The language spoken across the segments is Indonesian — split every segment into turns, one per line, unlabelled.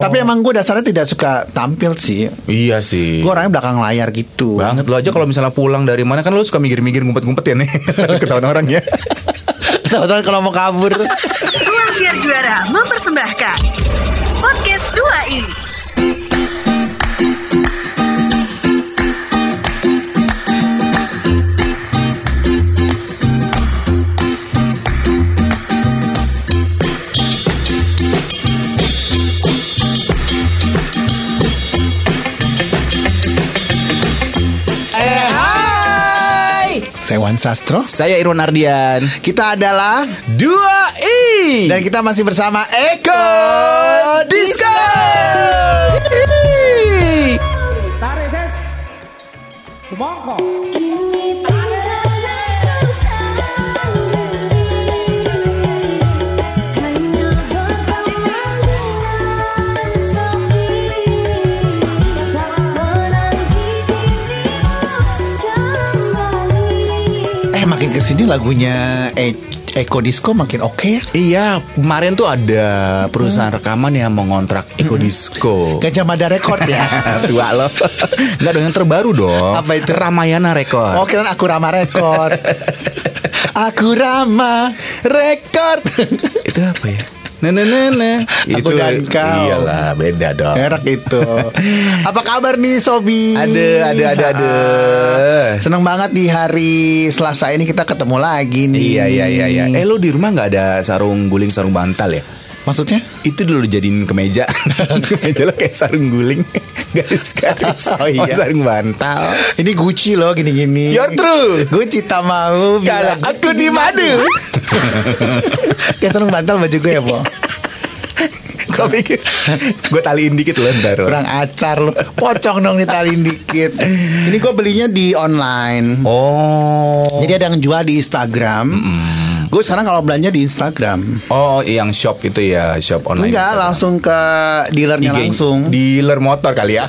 Tapi emang gue dasarnya tidak suka tampil sih.
Iya sih.
Gue orangnya belakang layar gitu.
banget lo aja kalau misalnya pulang dari mana kan lo suka mikir-mikir ngumpet-ngumpet ya nih ketahuan orang ya.
Tahu-tahu kalau mau kabur.
Ruang Siar Juara mempersembahkan Podcast 2i
eh, hai. Saya Wan Sastro.
Saya Irwan Ardian.
Kita adalah
Dua i.
dan kita masih bersama Eko Disco.
Tarik ses Semongko
Kini tiada hanya berteman sepi menanti kembali.
Eh makin kesini lagunya E- Eko Disco makin oke ya.
Iya, kemarin tuh ada perusahaan rekaman yang mengontrak Eko Disco.
Gajah Mada Record ya.
Hmm. Tua lo. Enggak dong yang terbaru dong.
Apa itu?
Ramayana Record.
Oh kira aku Rama Record. aku Rama Record.
Itu apa ya? Nah, nah, nah, nah.
Aku dan kau.
Iyalah, beda dong.
Enak itu. Apa kabar nih Sobi?
Aduh, aduh, aduh, aduh.
Ah, Seneng banget di hari Selasa ini kita ketemu lagi nih.
Iya, iya, iya, iya. Eh, lo di rumah nggak ada sarung guling, sarung bantal ya?
maksudnya?
Itu dulu jadiin kemeja. kemeja lo kayak sarung guling, garis-garis.
Oh, iya.
Mau sarung bantal.
Ini Gucci loh gini-gini.
You're true.
Gucci tak mau. bilang
Kalau aku di madu.
Ya seneng bantal baju gue ya, Bo.
Kau pikir Gue taliin dikit loh ntar lo.
Kurang acar lo. Pocong dong ditalin dikit. Ini gue belinya di online.
Oh
Jadi ada yang jual di Instagram. Gue sekarang kalau belanja di Instagram.
Oh yang shop itu ya Shop online
Enggak, langsung ke dealernya
IG.
langsung.
Dealer motor kali ya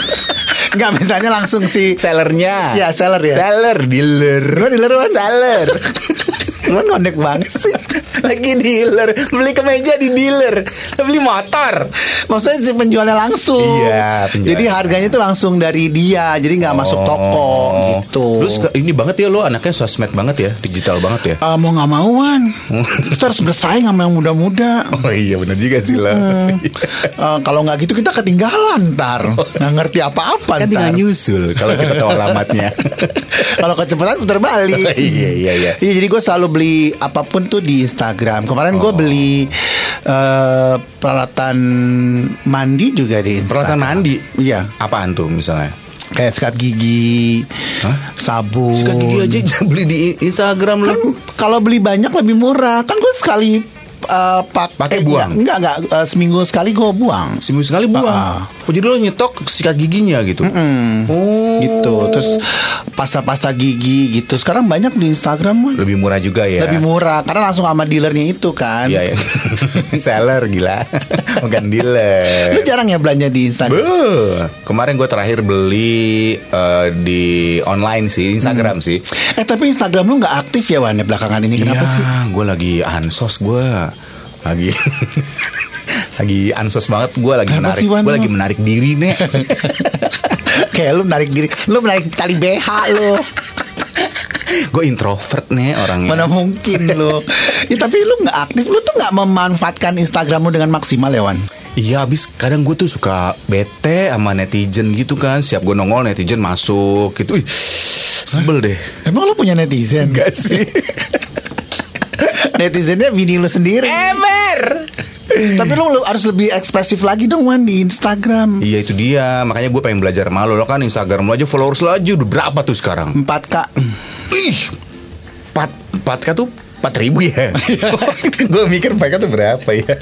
Enggak, misalnya langsung si
Sellernya
Ya, seller ya.
Seller Dealer
Lu dealer, Wan?
Seller
Lu ngondek banget sih.
Lagi dealer Beli kemeja di dealer Lo Beli motor
Maksudnya si penjualnya langsung.
Iya, penjualnya. Oh.
Jadi harganya itu langsung dari dia, jadi nggak masuk toko gitu.
Terus ke- ini banget ya lo anaknya sosmed banget ya Digital banget ya
Eh, mau nggak mauan, kita harus bersaing sama yang muda-muda.
Oh iya bener juga sih lo
Eh, kalau nggak gitu kita ketinggalan ntar,
Oh.
nggak ngerti apa-apa ntar.
Kan tinggal nyusul Kalau kita tahu alamatnya
Kalau kecepatan putar balik.
Iya, iya, iya.
Iya, jadi gue selalu beli apapun tuh di Instagram. Kemarin gue
Oh.
beli eh, peralatan mandi juga di Instagram.
Peralatan mandi
Iya,
Apaan tuh misalnya
kayak sikat gigi, sabun.
Sikat gigi aja beli di Instagram lo
Kan kalau beli banyak lebih murah. Kan gue sekali eh, pak-
Pakai
eh,
buang.
Enggak, enggak, enggak, eh, seminggu sekali gue buang.
Seminggu sekali buang
Ah.
Oh, Jadi lo nyetok sikat giginya gitu Oh
gitu terus pasta-pasta gigi gitu sekarang banyak di Instagram Wan.
Lebih murah juga ya
lebih murah karena langsung sama dealernya itu kan
Iya ya Seller gila Bukan
Lu
dealer
jarang ya belanja di Instagram?
Beuh. Kemarin gue terakhir beli eh, di online sih Instagram sih
Eh tapi Instagram lu nggak aktif ya Wan ya belakangan ini kenapa
Iya,
sih?
gue lagi ansos gue lagi lagi ansos banget gue lagi
Kenapa
menarik
sih, Wan,
gue
lu?
lagi menarik diri nih
Kayak lu menarik diri, lu menarik tali BH lu.
Hmm. gue introvert nih orangnya
Mana mungkin lu. Ya tapi lu nggak aktif, lu tuh nggak memanfaatkan Instagram lu dengan maksimal ya Wan.
Iya abis kadang gue tuh suka bete sama netizen gitu kan Siap gue nongol netizen masuk gitu Ih, Sebel deh
Emang lu punya netizen? Enggak sih. Netizennya bini lu sendiri.
Eh. Ever
Tapi lu lu harus lebih ekspresif lagi dong Wan di Instagram.
Iya itu dia Makanya gue pengen belajar sama lo Lo kan Instagram lo aja followers lo aja Udah berapa tuh sekarang
4K.
Ih 4, 4K tuh 4 ribu ya Gue mikir 4K tuh berapa ya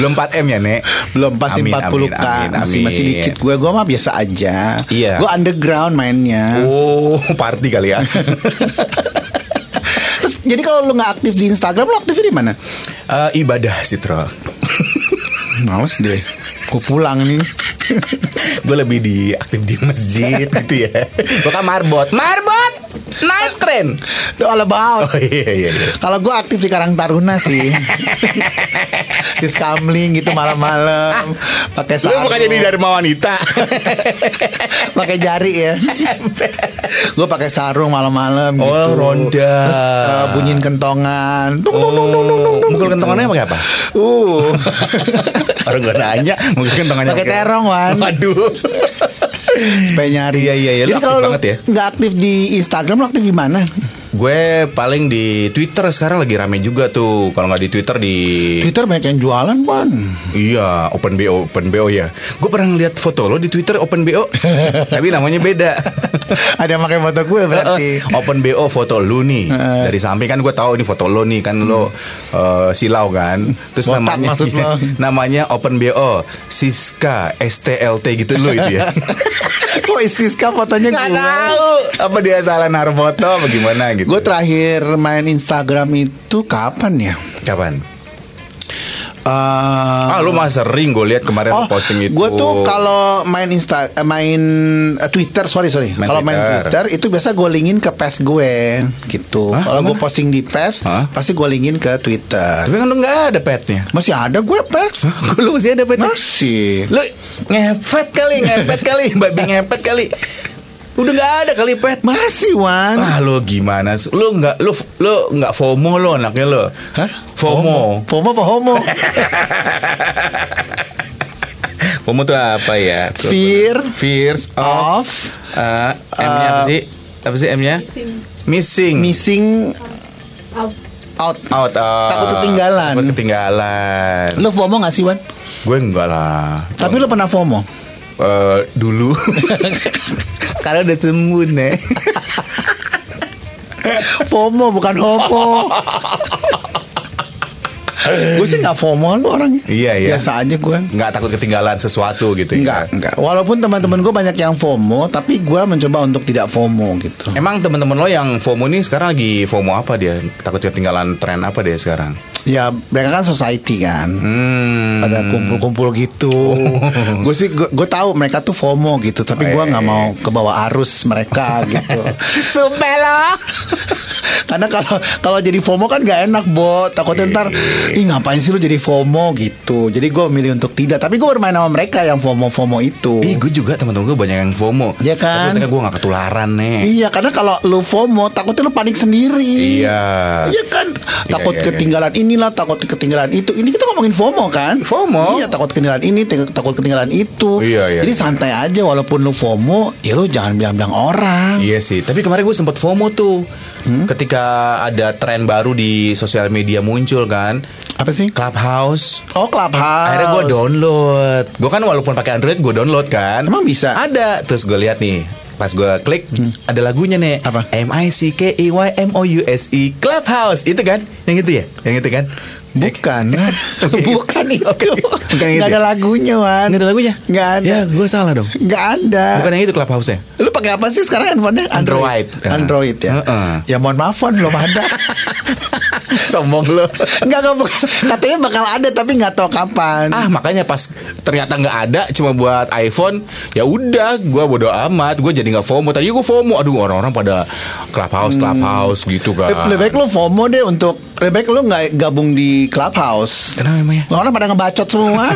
Belum 4M ya Nek
Belum pasti
Amin,
40K
amin, amin,
Masih,
amin.
masih dikit Gue gue mah biasa aja
Iya.
Gue underground mainnya
Oh party kali ya
Terus jadi kalau lu nggak aktif di Instagram lu aktifnya di mana?
Eh, Ibadah Citra
Males deh. Gue pulang nih.
Gue lebih di aktif di masjid gitu ya Gue kan marbot Marbot
Night Train.
Itu all about.
Oh iya iya. iya.
Kalau gue aktif di Karang Taruna sih Di skamling gitu malam-malam Pakai
Lu
sarung
bukan jadi Dharma Wanita.
Pakai jari ya Gue pakai sarung malam-malam
Oh,
gitu
ronda.
Terus eh, bunyiin kentongan Dung, dung, dung, dung, dung, dung,
Oh,
dung,
mukul
gitu.
kentongannya pakai apa?
Uh
Orang gak nanya, mukul kentongannya
Pakai terong, Wan.
Waduh.
Supaya nyari
Iya, iya, iya.
Jadi
Lu aktif
kalau lu
banget ya.
nggak aktif di Instagram Lu aktif di mana?
Gue paling di Twitter sekarang lagi rame juga tuh. Kalau nggak di Twitter di
Twitter banyak yang jualan Wan
Iya, Open BO, Open BO ya. Gue pernah ngeliat foto lo di Twitter Open BO, tapi namanya beda.
Ada yang pakai foto gue berarti
Eh, eh, Open BO foto lu nih
Heeh.
dari samping kan gue tahu ini foto lu nih kan lo eh, silau kan terus
Botak
namanya
maksud lo.
namanya Open BO Siska STLT gitu lo itu ya
Kok Siska fotonya
nggak
gue
tahu apa dia salah naruh foto apa gimana gitu
Gue terakhir main Instagram itu kapan ya?
kapan
Eh,
ah lu mah sering gue lihat kemarin lo
oh,
posting itu
gue tuh kalau main Insta, eh, main eh, Twitter, sorry sorry,
Main
kalau main
Twitter. Hmm.
Twitter itu biasa gue linkin ke pes gue, gitu.
Hah,
Kalau gue
emang?
posting di pes,
Hah?
pasti gue linkin ke Twitter.
tapi kan lu nggak ada petnya
Masih ada gue pes?
lu masih ada petnya
Masih.
Lu ngepet kali, ngepet kali, babi ngepet kali. Udah nggak ada kali pet.
Masih Wan.
Ah lu gimana? sih? Lu nggak lu lu nggak FOMO lo anaknya lo.
Hah?
FOMO.
Pomo apa homo?
FOMO tuh apa ya?
Fear. Oh.
Fears of
Off.
Eh, M-nya apa
Eh,
sih? Apa sih M-nya? Missing.
Missing. Out.
Out. ah.
Takut ketinggalan.
Takut ketinggalan.
Lo FOMO gak sih Wan?
Gue enggak lah.
Tapi lo pernah FOMO?
Eh, dulu. Sekarang udah sembuh, Nek.
FOMO bukan homo. gue sih nggak FOMO lu orangnya.
Iya, iya.
Biasa aja gue.
Nggak takut ketinggalan sesuatu gitu ya.
Enggak, enggak. Walaupun teman-teman gue banyak yang FOMO, tapi gue mencoba untuk tidak FOMO gitu.
Emang temen-temen lo yang FOMO ini sekarang lagi FOMO apa dia? Takut ketinggalan tren apa dia sekarang?
Ya, mereka kan society kan.
Hmm. Oh.
Pada kumpul-kumpul gitu. gue sih gue tahu mereka tuh FOMO gitu, tapi gue nggak
Eh.
mau ke bawah arus mereka gitu. Sumpah lo. Karena kalau kalau jadi FOMO kan gak enak, Bo. Takutnya ntar
Iya.
ih ngapain sih lu jadi FOMO gitu. Jadi gue milih untuk tidak, tapi gue bermain sama mereka yang FOMO-FOMO itu.
Ih, gue juga teman-teman gue banyak yang
Oh.
FOMO.
Iya kan?
Tapi gue gak ketularan nih.
Iya, karena kalau lu FOMO takutnya lu panik sendiri.
Iya.
Iya kan? Takut
iya, iya.
ketinggalan inilah, takut ketinggalan itu. Ini kita ngomongin FOMO kan?
FOMO.
Iya, takut ketinggalan ini, te- takut ketinggalan itu.
Iya, iya,
Jadi
iya.
santai aja walaupun lu FOMO, ya lu jangan bilang-bilang orang.
Iya sih, tapi kemarin gue sempet FOMO tuh
Hmm?
Ketika ada tren baru di sosial media muncul kan
Apa sih?
Clubhouse
Oh, Clubhouse.
Akhirnya gue download Gue kan walaupun pakai Android gue download kan
Emang bisa? Hmm.
Ada Terus gue lihat nih Pas gue klik Ada lagunya nih
Apa?
E M-I-C-K-E-Y-M-O-U-S-E E, Clubhouse Itu kan Yang itu ya Yang itu kan
Bukan. Bukan itu.
Bukan itu. ya?
Gak ada lagunya, Wan.
Nggak ada lagunya?
Nggak ada.
Ya gue salah dong
Nggak ada.
Bukan yang itu Clubhouse-nya
Lu pakai apa sih sekarang handphonenya?
Android.
Android ya. Ya
Heeh.
mohon maaf, Wan, belum ada.
Sombong lo
Enggak, enggak bukan. Katanya bakal ada tapi nggak tahu kapan.
Ah makanya pas ternyata nggak ada cuma buat iPhone ya udah gue bodo amat gue jadi nggak FOMO tadi gue FOMO aduh orang-orang pada clubhouse clubhouse gitu kan
Le- Hmm. Lebih baik Eh, lu FOMO deh untuk lebih baik lu nggak gabung di clubhouse.
Kenapa ya? emangnya?
Orang pada ngebacot semua.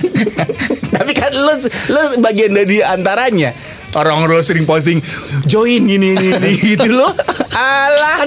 Tapi kan lu, lu bagian dari antaranya Orang lu sering posting Join gini gini, gini gitu lo Alah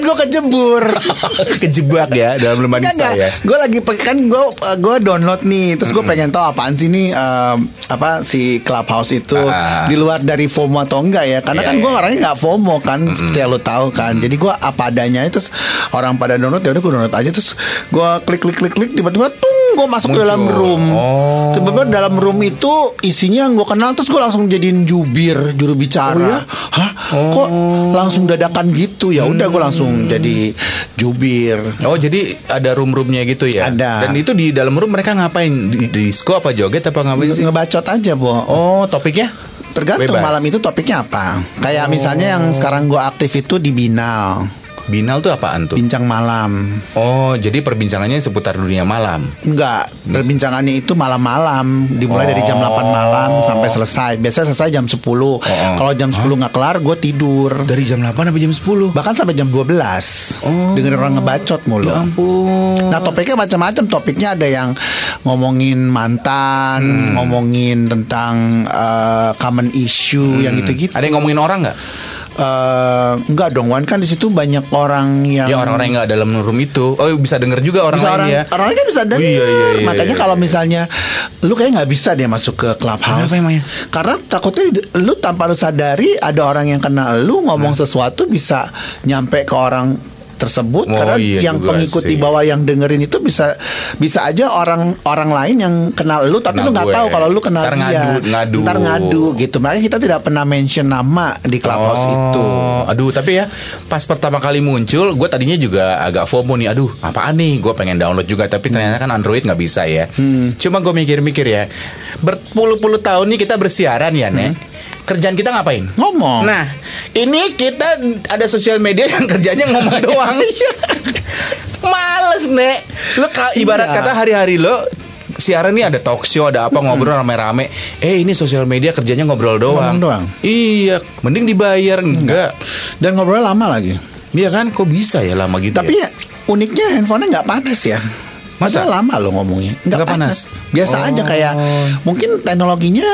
kan gue kejebur.
Kejebak ya dalam lemari
Enggak enggak.
style ya
Gue lagi pe- kan gue gue download nih. Terus gue pengen tahu apaan sih nih em, apa si clubhouse itu
Ah.
di luar dari FOMO atau enggak ya? Karena
Iya,
kan gue
iya,
orangnya nggak FOMO kan seperti yang lu tahu kan. Jadi gue apa adanya terus orang pada download ya udah gue download aja terus gue klik klik klik klik tiba-tiba tung gue masuk ke
Muncul.
dalam room.
Oh.
Tiba-tiba dalam room itu isinya yang gue kenal terus gue langsung jadiin jubir juru bicara.
Oh, iya?
Hah? Kok langsung dadakan gitu ya? Udah gue langsung
Hmm.
jadi jubir.
Oh jadi ada room-roomnya gitu ya
Ada.
Dan itu di dalam room mereka ngapain di, di disco apa joget apa ngapain sih
ngebacot aja, Bo.
Oh topiknya
Tergantung
Bebas. Oh.
malam itu topiknya apa. Kayak misalnya yang sekarang gue aktif itu di Binal.
Binal tuh apaan tuh?
Bincang malam.
Oh, jadi perbincangannya seputar dunia malam.
Enggak, perbincangannya itu malam-malam, dimulai dari
Oh.
jam 8 malam sampai selesai. Biasanya selesai jam 10.
oh.
Kalau jam 10 nggak kelar, gue tidur.
Dari jam 8 sampai jam 10.
Bahkan sampai jam 12. Dengerin orang ngebacot mulu.
Oh. Ya ampun.
Nah topiknya macam-macam Topiknya ada yang ngomongin mantan
Hmm.
Ngomongin tentang eh, common issue
Hmm.
Yang gitu-gitu
Ada yang ngomongin orang nggak?
Eh, Enggak dong Wan kan di situ banyak orang yang
Ya orang-orang yang nggak dalam room itu. Oh bisa denger juga orang
bisa
lain
orang,
ya.
orang lain kan bisa denger
iya, iya, iya,
Makanya
iya,
kalau
iya.
misalnya Lu kayaknya nggak bisa dia masuk ke clubhouse
Kenapa emangnya?
Karena takutnya di- Lu tanpa lu sadari Ada orang yang kenal lu Ngomong
Nah.
sesuatu bisa Nyampe ke orang tersebut
Oh,
karena
iya
yang
juga
pengikut di
sih.
bawah yang dengerin itu bisa bisa aja orang orang lain yang kenal lu tapi
Kenal
lu nggak
gue.
tahu kalau lu kenal
Ntar
dia
ngadu- ngadu.
ntar ngadu gitu makanya kita tidak pernah mention nama di clubhouse itu
Oh, Aduh, tapi ya pas pertama kali muncul, gue tadinya juga agak FOMO nih. Aduh, apaan nih? Gue pengen download juga, tapi ternyata kan Android nggak bisa ya.
Hmm.
Cuma gue mikir-mikir ya, berpuluh-puluh tahun nih kita bersiaran ya, Nek.
Hmm.
Kerjaan kita ngapain?
ngomong
Nah, ini kita ada sosial media yang kerjanya ngomong doang. Males, Nek. Lo ka- ibarat
Iya. Iya.
kata hari-hari lo siaran nih ada talk show, ada apa ngobrol rame-rame. Eh, ini sosial media kerjanya ngobrol doang.
Ngomong doang.
Iya, mending dibayar enggak.
dan ngobrol lama lagi
Iya kan, kok bisa ya lama gitu?
Tapi
ya?
ya, uniknya handphonenya nggak panas ya.
Masa?
Padahal lama lo ngomongnya. Nggak
Nggak panas?
panas. Biasa
Oh.
aja kayak mungkin teknologinya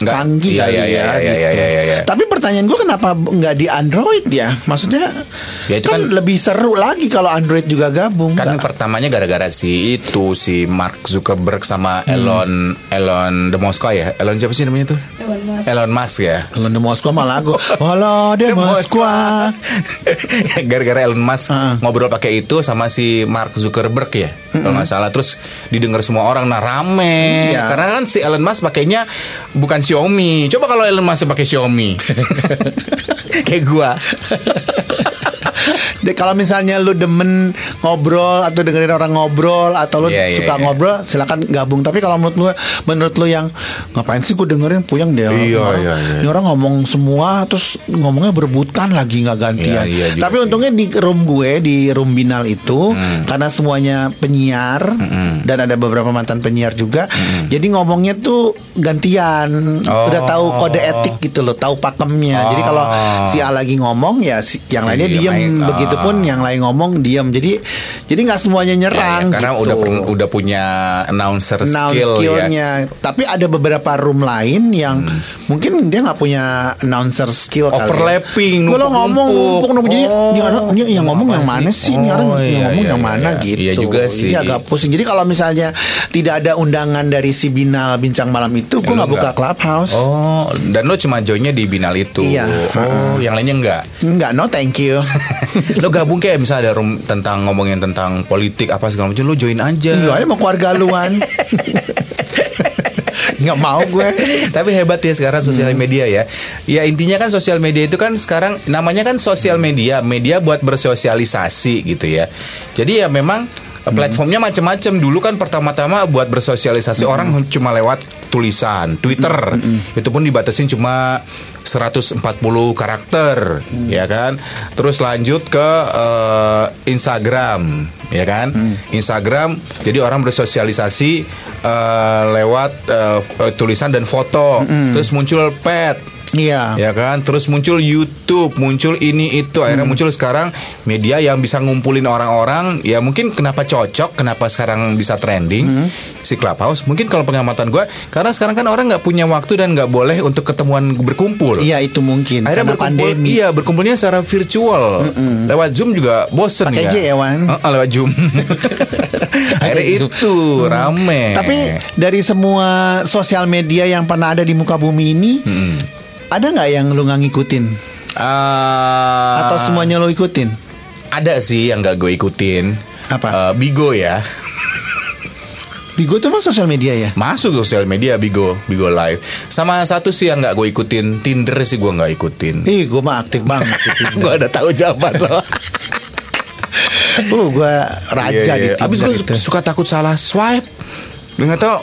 Nggak.
canggih
Iya,
kali
iya,
ya,
iya, iya,
gitu.
iya, iya, iya.
Tapi pertanyaan gue kenapa nggak di Android ya? Maksudnya
Ya, itu
kan,
kan-
lebih seru lagi kalau Android juga gabung.
Kan
Nggak.
pertamanya gara-gara si itu si Mark Zuckerberg sama
Hmm.
Elon Elon the Moscow ya. Elon siapa sih namanya tuh? Elon Musk. Elon Musk ya.
Kalau di Moskwa malah lagu Halo di
The
Moskwa
gara-gara Elon Musk
Ah.
ngobrol pakai itu sama si Mark Zuckerberg ya kalau nggak salah terus didengar semua orang nah rame
Iya.
karena kan si Elon Musk pakainya bukan Xiaomi coba kalau Elon Musk pakai Xiaomi kayak gua
Jadi kalau misalnya lu demen ngobrol atau dengerin orang ngobrol atau lu
Iya, iya,
suka
iya.
ngobrol, silakan gabung. Tapi kalau menurut lu menurut lu yang ngapain sih gue dengerin puyeng deh orang,
Iya,
orang,
iya, iya.
ini orang ngomong semua terus ngomongnya berebutan lagi nggak gantian.
Iya, iya juga
Tapi
sih. Hmm.
untungnya di room gue di room binal itu karena semuanya penyiar dan ada beberapa mantan penyiar juga. Jadi ngomongnya tuh gantian.
Hmm. Oh.
Udah tahu kode etik gitu loh, tahu pakemnya. Jadi kalau
Oh.
si A lagi ngomong ya si, yang
Si
lainnya
yang
diem
lain, ah.
begitupun yang lain ngomong diem jadi jadi nggak semuanya nyerang
Ya, ya, karena
gitu.
udah pu- udah punya announcer
Noun
skill ya
skillnya tapi ada beberapa room lain yang
Hmm.
mungkin dia nggak punya announcer skill kali ya.
Overlapping,
Gue lo ngomong
numpuk-numpuk.
numpuk numpuk jadi
Oh,
ini orang ini yang ngomong yang
apa
mana sih
sih?
ini orang
Oh,
yang
iya,
ngomong
iya,
yang
iya,
mana
iya.
gitu
Iya juga sih.
Ini agak pusing jadi kalau misalnya tidak ada undangan dari si binal bincang malam itu gue
lu
nggak buka
nggak?
clubhouse
oh dan lo cuma joinnya di binal itu
Iya.
oh yang lainnya enggak
nggak no thank you
lo gabung kayak misalnya ada room tentang ngomongin tentang politik apa segala macam lo join aja
Lu aja mau Iya, keluarga luan Nggak mau gue
Tapi hebat ya sekarang sosial media ya. Ya intinya kan sosial media itu kan sekarang namanya kan sosial media, media buat bersosialisasi gitu ya. Jadi ya memang platformnya macam-macam. Dulu kan pertama-tama buat bersosialisasi orang cuma lewat tulisan, Twitter. Itu pun dibatasin cuma 140 karakter, ya kan? Terus lanjut ke eh, Instagram, ya kan? Instagram jadi orang bersosialisasi eh, lewat eh, f- eh, tulisan dan foto. Terus muncul pet
Iya
Ya kan, terus muncul YouTube, muncul ini itu, akhirnya muncul sekarang media yang bisa ngumpulin orang-orang. Ya mungkin kenapa cocok, kenapa sekarang bisa trending si Clubhouse. Mungkin kalau pengamatan gua karena sekarang kan orang nggak punya waktu dan nggak boleh untuk ketemuan berkumpul.
Iya itu mungkin Karena
Akhirnya berkumpul,
pandemi
iya berkumpulnya secara virtual, lewat zoom juga bosen
Pakai
ya.
J ya, Wan?
Heeh, lewat zoom. Akhirnya
Pakai Zoom.
itu rame.
Tapi
Eh.
dari semua sosial media yang pernah ada di muka bumi ini
Hmm.
Ada nggak yang lu nggak ngikutin?
Ah,
Atau semuanya lu ikutin?
ada sih yang gak gue ikutin.
Apa?
Eh, Bigo ya.
Bigo tuh mah sosial media ya?
Masuk sosial media Bigo, Bigo Live. Sama satu sih yang nggak gue ikutin, Tinder sih gue nggak ikutin. Iya,
Ih gue mah aktif banget
gue ada tahu jawaban loh.
Uh gue raja gitu. di
Iya, iya.
Tinder
Abis gue
itu.
suka takut salah swipe. Gue nggak tahu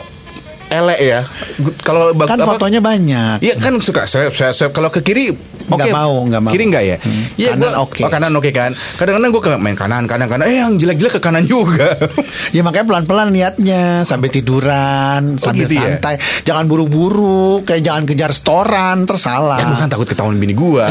elek ya. Gu- Kalau bak-
Kan
apa-
fotonya banyak
Iya kan suka swipe, swipe, swipe. Kalau ke kiri
Nggak mau, nggak mau. Hmm.
Kiri nggak ya? Iya,
Kanan
gua-
oke.
Oh, kanan oke kan. Kadang-kadang gue main kanan, kanan, kanan. Eh yang jelek-jelek ke kanan juga.
Ya makanya pelan-pelan niatnya sampai tiduran, sambil
gitu ya?
santai, jangan buru-buru, kayak jangan kejar setoran, tersalah.
Ya gue kan takut ketahuan bini gue.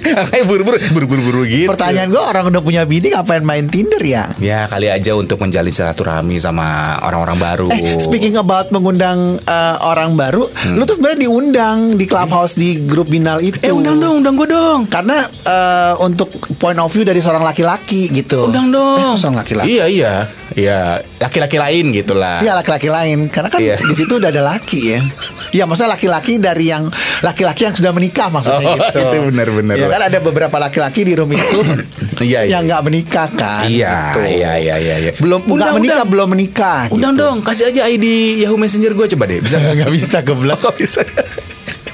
Kayak buru-buru, buru-buru gitu.
Pertanyaan gue orang udah punya bini ngapain main Tinder ya?
Ya kali aja untuk menjalin silaturahmi sama orang-orang baru.
Eh, speaking about mengundang eh, orang baru,
Hmm.
lu tuh sebenarnya diundang di clubhouse di grup binal itu.
Eh undang dong, undang gue dong.
Karena eh, untuk point of view dari seorang laki-laki gitu.
Undang
Eh,
dong.
seorang laki-laki.
Iya iya iya laki-laki lain gitulah.
Iya laki-laki lain karena kan
Iya.
di situ udah ada laki ya. Iya maksudnya laki-laki dari yang laki-laki yang sudah menikah maksudnya
Oh,
gitu.
itu benar-benar.
Iya kan ada beberapa laki-laki di room itu
Iya,
yang
iya.
nggak menikah kan.
Iya,
gitu.
iya iya iya iya.
Belum nggak
Undang,
menikah
undang.
belum menikah.
Undang
gitu.
dong, kasih aja ID Yahoo Messenger gue coba deh. Bisa
Nggak bisa geblok.
Kok bisa?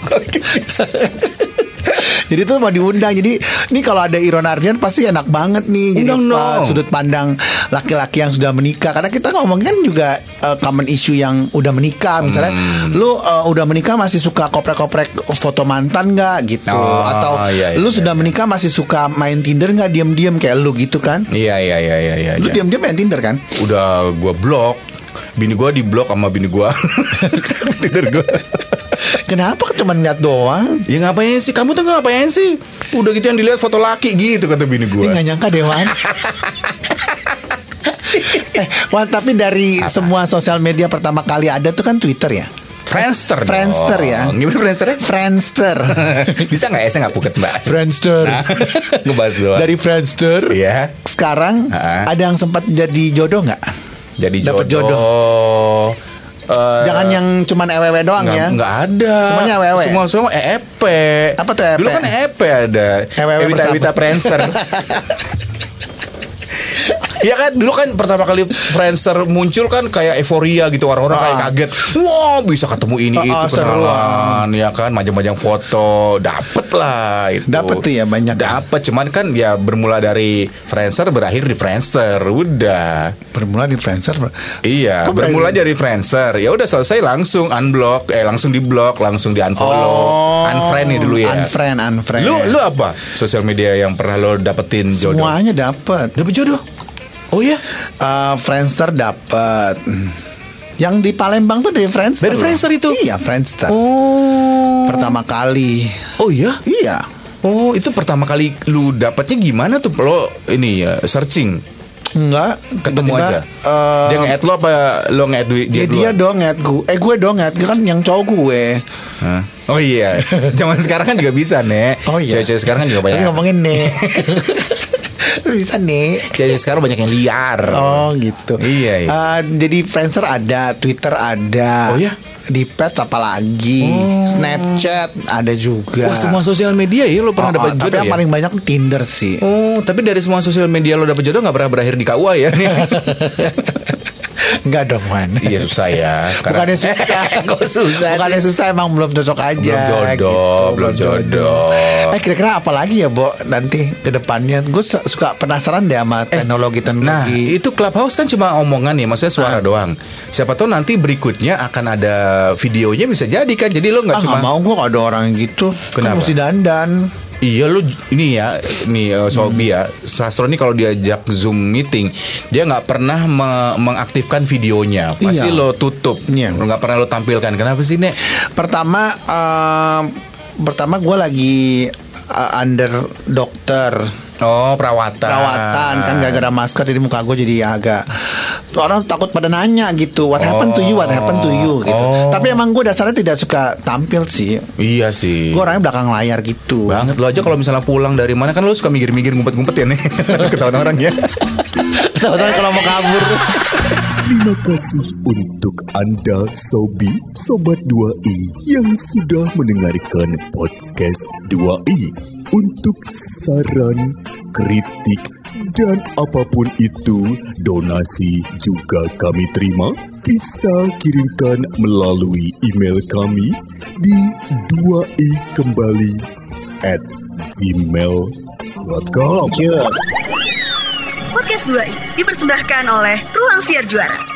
Kok bisa?
Jadi tuh mau diundang. Jadi ini kalau ada Iron Ardian pasti enak banget nih. Jadi
Undang
apa,
dong.
sudut pandang laki-laki yang sudah menikah. Karena kita ngomongin kan juga eh, common issue yang udah menikah. Misalnya
Hmm.
lu eh, udah menikah masih suka koprek-koprek foto mantan nggak gitu?
Oh,
Atau
iya, iya,
lu
iya,
sudah menikah masih suka main Tinder nggak diam-diam kayak lu gitu kan?
Iya iya iya iya iya.
Lu
iya.
diam-diam main Tinder kan?
Udah gue blok. Bini gue di blok sama bini gue. Tinder gue.
Kenapa cuma lihat doang?
Ya ngapain sih? Kamu tuh ngapain sih? Udah gitu yang dilihat foto laki gitu kata bini
Ini nggak
gue.
nyangka Dewan. eh, Wan tapi dari semua sosial media pertama kali ada tuh kan Twitter ya.
Friendster. dong.
Friendster ya.
Gimana Friendsternya?
Friendster.
bisa nggak ya? Saya nggak puket mbak.
Friendster.
Nah, Ngebahas doang.
dari Friendster
Iya.
sekarang
Ha-ha.
ada yang sempat jadi jodoh nggak?
Jadi jodoh.
Dapat jodoh.
Eh,
Jangan yang cuman ewewe doang
nggak-
ya.
nggak ada.
Semuanya EWW.
Semua semua EEP.
Apa tuh EEP?
Dulu kan EEP ada.
EWW
Ewita
bersama.
Ewita Friendster. Iya kan dulu kan pertama kali Friendster muncul kan kayak euforia gitu orang-orang kayak
Ah.
kaget. Wow, bisa ketemu ini
Ah, ah,
itu
seru.
kenalan ya kan majang-majang foto dapet lah itu.
Dapet tuh ya, banyak.
Dapet cuman kan ya bermula dari Friendster berakhir di Friendster. Udah.
Bermula di Friendster.
Iya,
Kok
bermula
berani?
dari friendster. Ya udah selesai langsung unblock, eh langsung diblok, langsung di unfollow, unfriend nih dulu ya.
Oh. Unfriend, unfriend.
Lu lu apa? Sosial media yang pernah lo dapetin jodoh?
semuanya dapat.
Dapet jodoh? Oh ya,
Eh, Friendster dapat. Yang di Palembang tuh dari Friendster.
Dari
loh.
Friendster itu?
Iya, Friendster.
Oh.
Pertama kali.
Oh ya.
Iya.
Oh, itu pertama kali lu dapetnya gimana tuh? Lo ini ya searching
Enggak,
ketemu
tiba-tiba,
aja.
eh,
dia nge-add lo apa lo nge-add dia,
dia, dia
duluan?
dong nge-add gue. Eh gue dong nge-add kan yang cowok gue.
Hah? Oh iya, zaman sekarang kan juga bisa, Nek.
Oh iya.
Cewek-cewek sekarang kan juga
Tapi
banyak.
ngomongin nih. Bisa nih.
Cewek sekarang banyak yang liar.
Oh gitu.
Iya, iya.
Eh, jadi Friendster ada, Twitter ada.
Oh, iya? Oh.
Di pet apalagi, Snapchat ada juga.
Wah semua sosial media ya lo pernah
Oh,
dapat
oh,
jodoh
Tapi yang
ya?
paling banyak Tinder sih.
Oh, tapi dari semua sosial media lo dapet jodoh nggak pernah berakhir di KUA ya?
Enggak dong, Man.
iya susah ya.
Bukannya susah,
Kok susah?
Bukannya susah emang belum cocok aja.
Belum jodoh, belum jodoh.
Eh kira-kira apa lagi ya, Bo? Nanti ke depannya gue su- suka penasaran deh sama
Nah,
teknologi-teknologi.
itu clubhouse kan cuma omongan ya, maksudnya suara doang. Siapa tahu nanti berikutnya akan ada videonya bisa jadi kan. Jadi lo nggak
ah,
cuma
nggak mau gue kalau ada orang yang gitu. Kan
Kenapa?
mesti dandan.
Iya lu ini ya nih eh, Sobi ya Sastro ini kalau diajak Zoom meeting dia nggak pernah me- mengaktifkan videonya
Iya.
pasti lo tutup
Iya.
Lo nggak pernah lo tampilkan kenapa sih nek
Pertama, eh, pertama gue lagi eh, under dokter.
oh perawatan
perawatan kan gara-gara masker jadi muka gue jadi agak orang takut pada nanya gitu what happened to you what happened to you gitu
Oh.
tapi emang gue dasarnya tidak suka tampil sih
iya sih
gue orangnya belakang layar gitu
banget lo aja kalau misalnya pulang dari mana kan lo suka mikir-mikir ngumpet-ngumpet ya nih ketahuan orang ya
Tahu-tahu kalau mau kabur
Terima kasih untuk Anda Sobi Sobat 2i yang sudah mendengarkan podcast 2i. Untuk saran, kritik, dan apapun itu, donasi juga kami terima. Bisa kirimkan melalui email kami di 2i kembali at gmail.com.
Podcast 2i dipersembahkan oleh Ruang Siar Juara.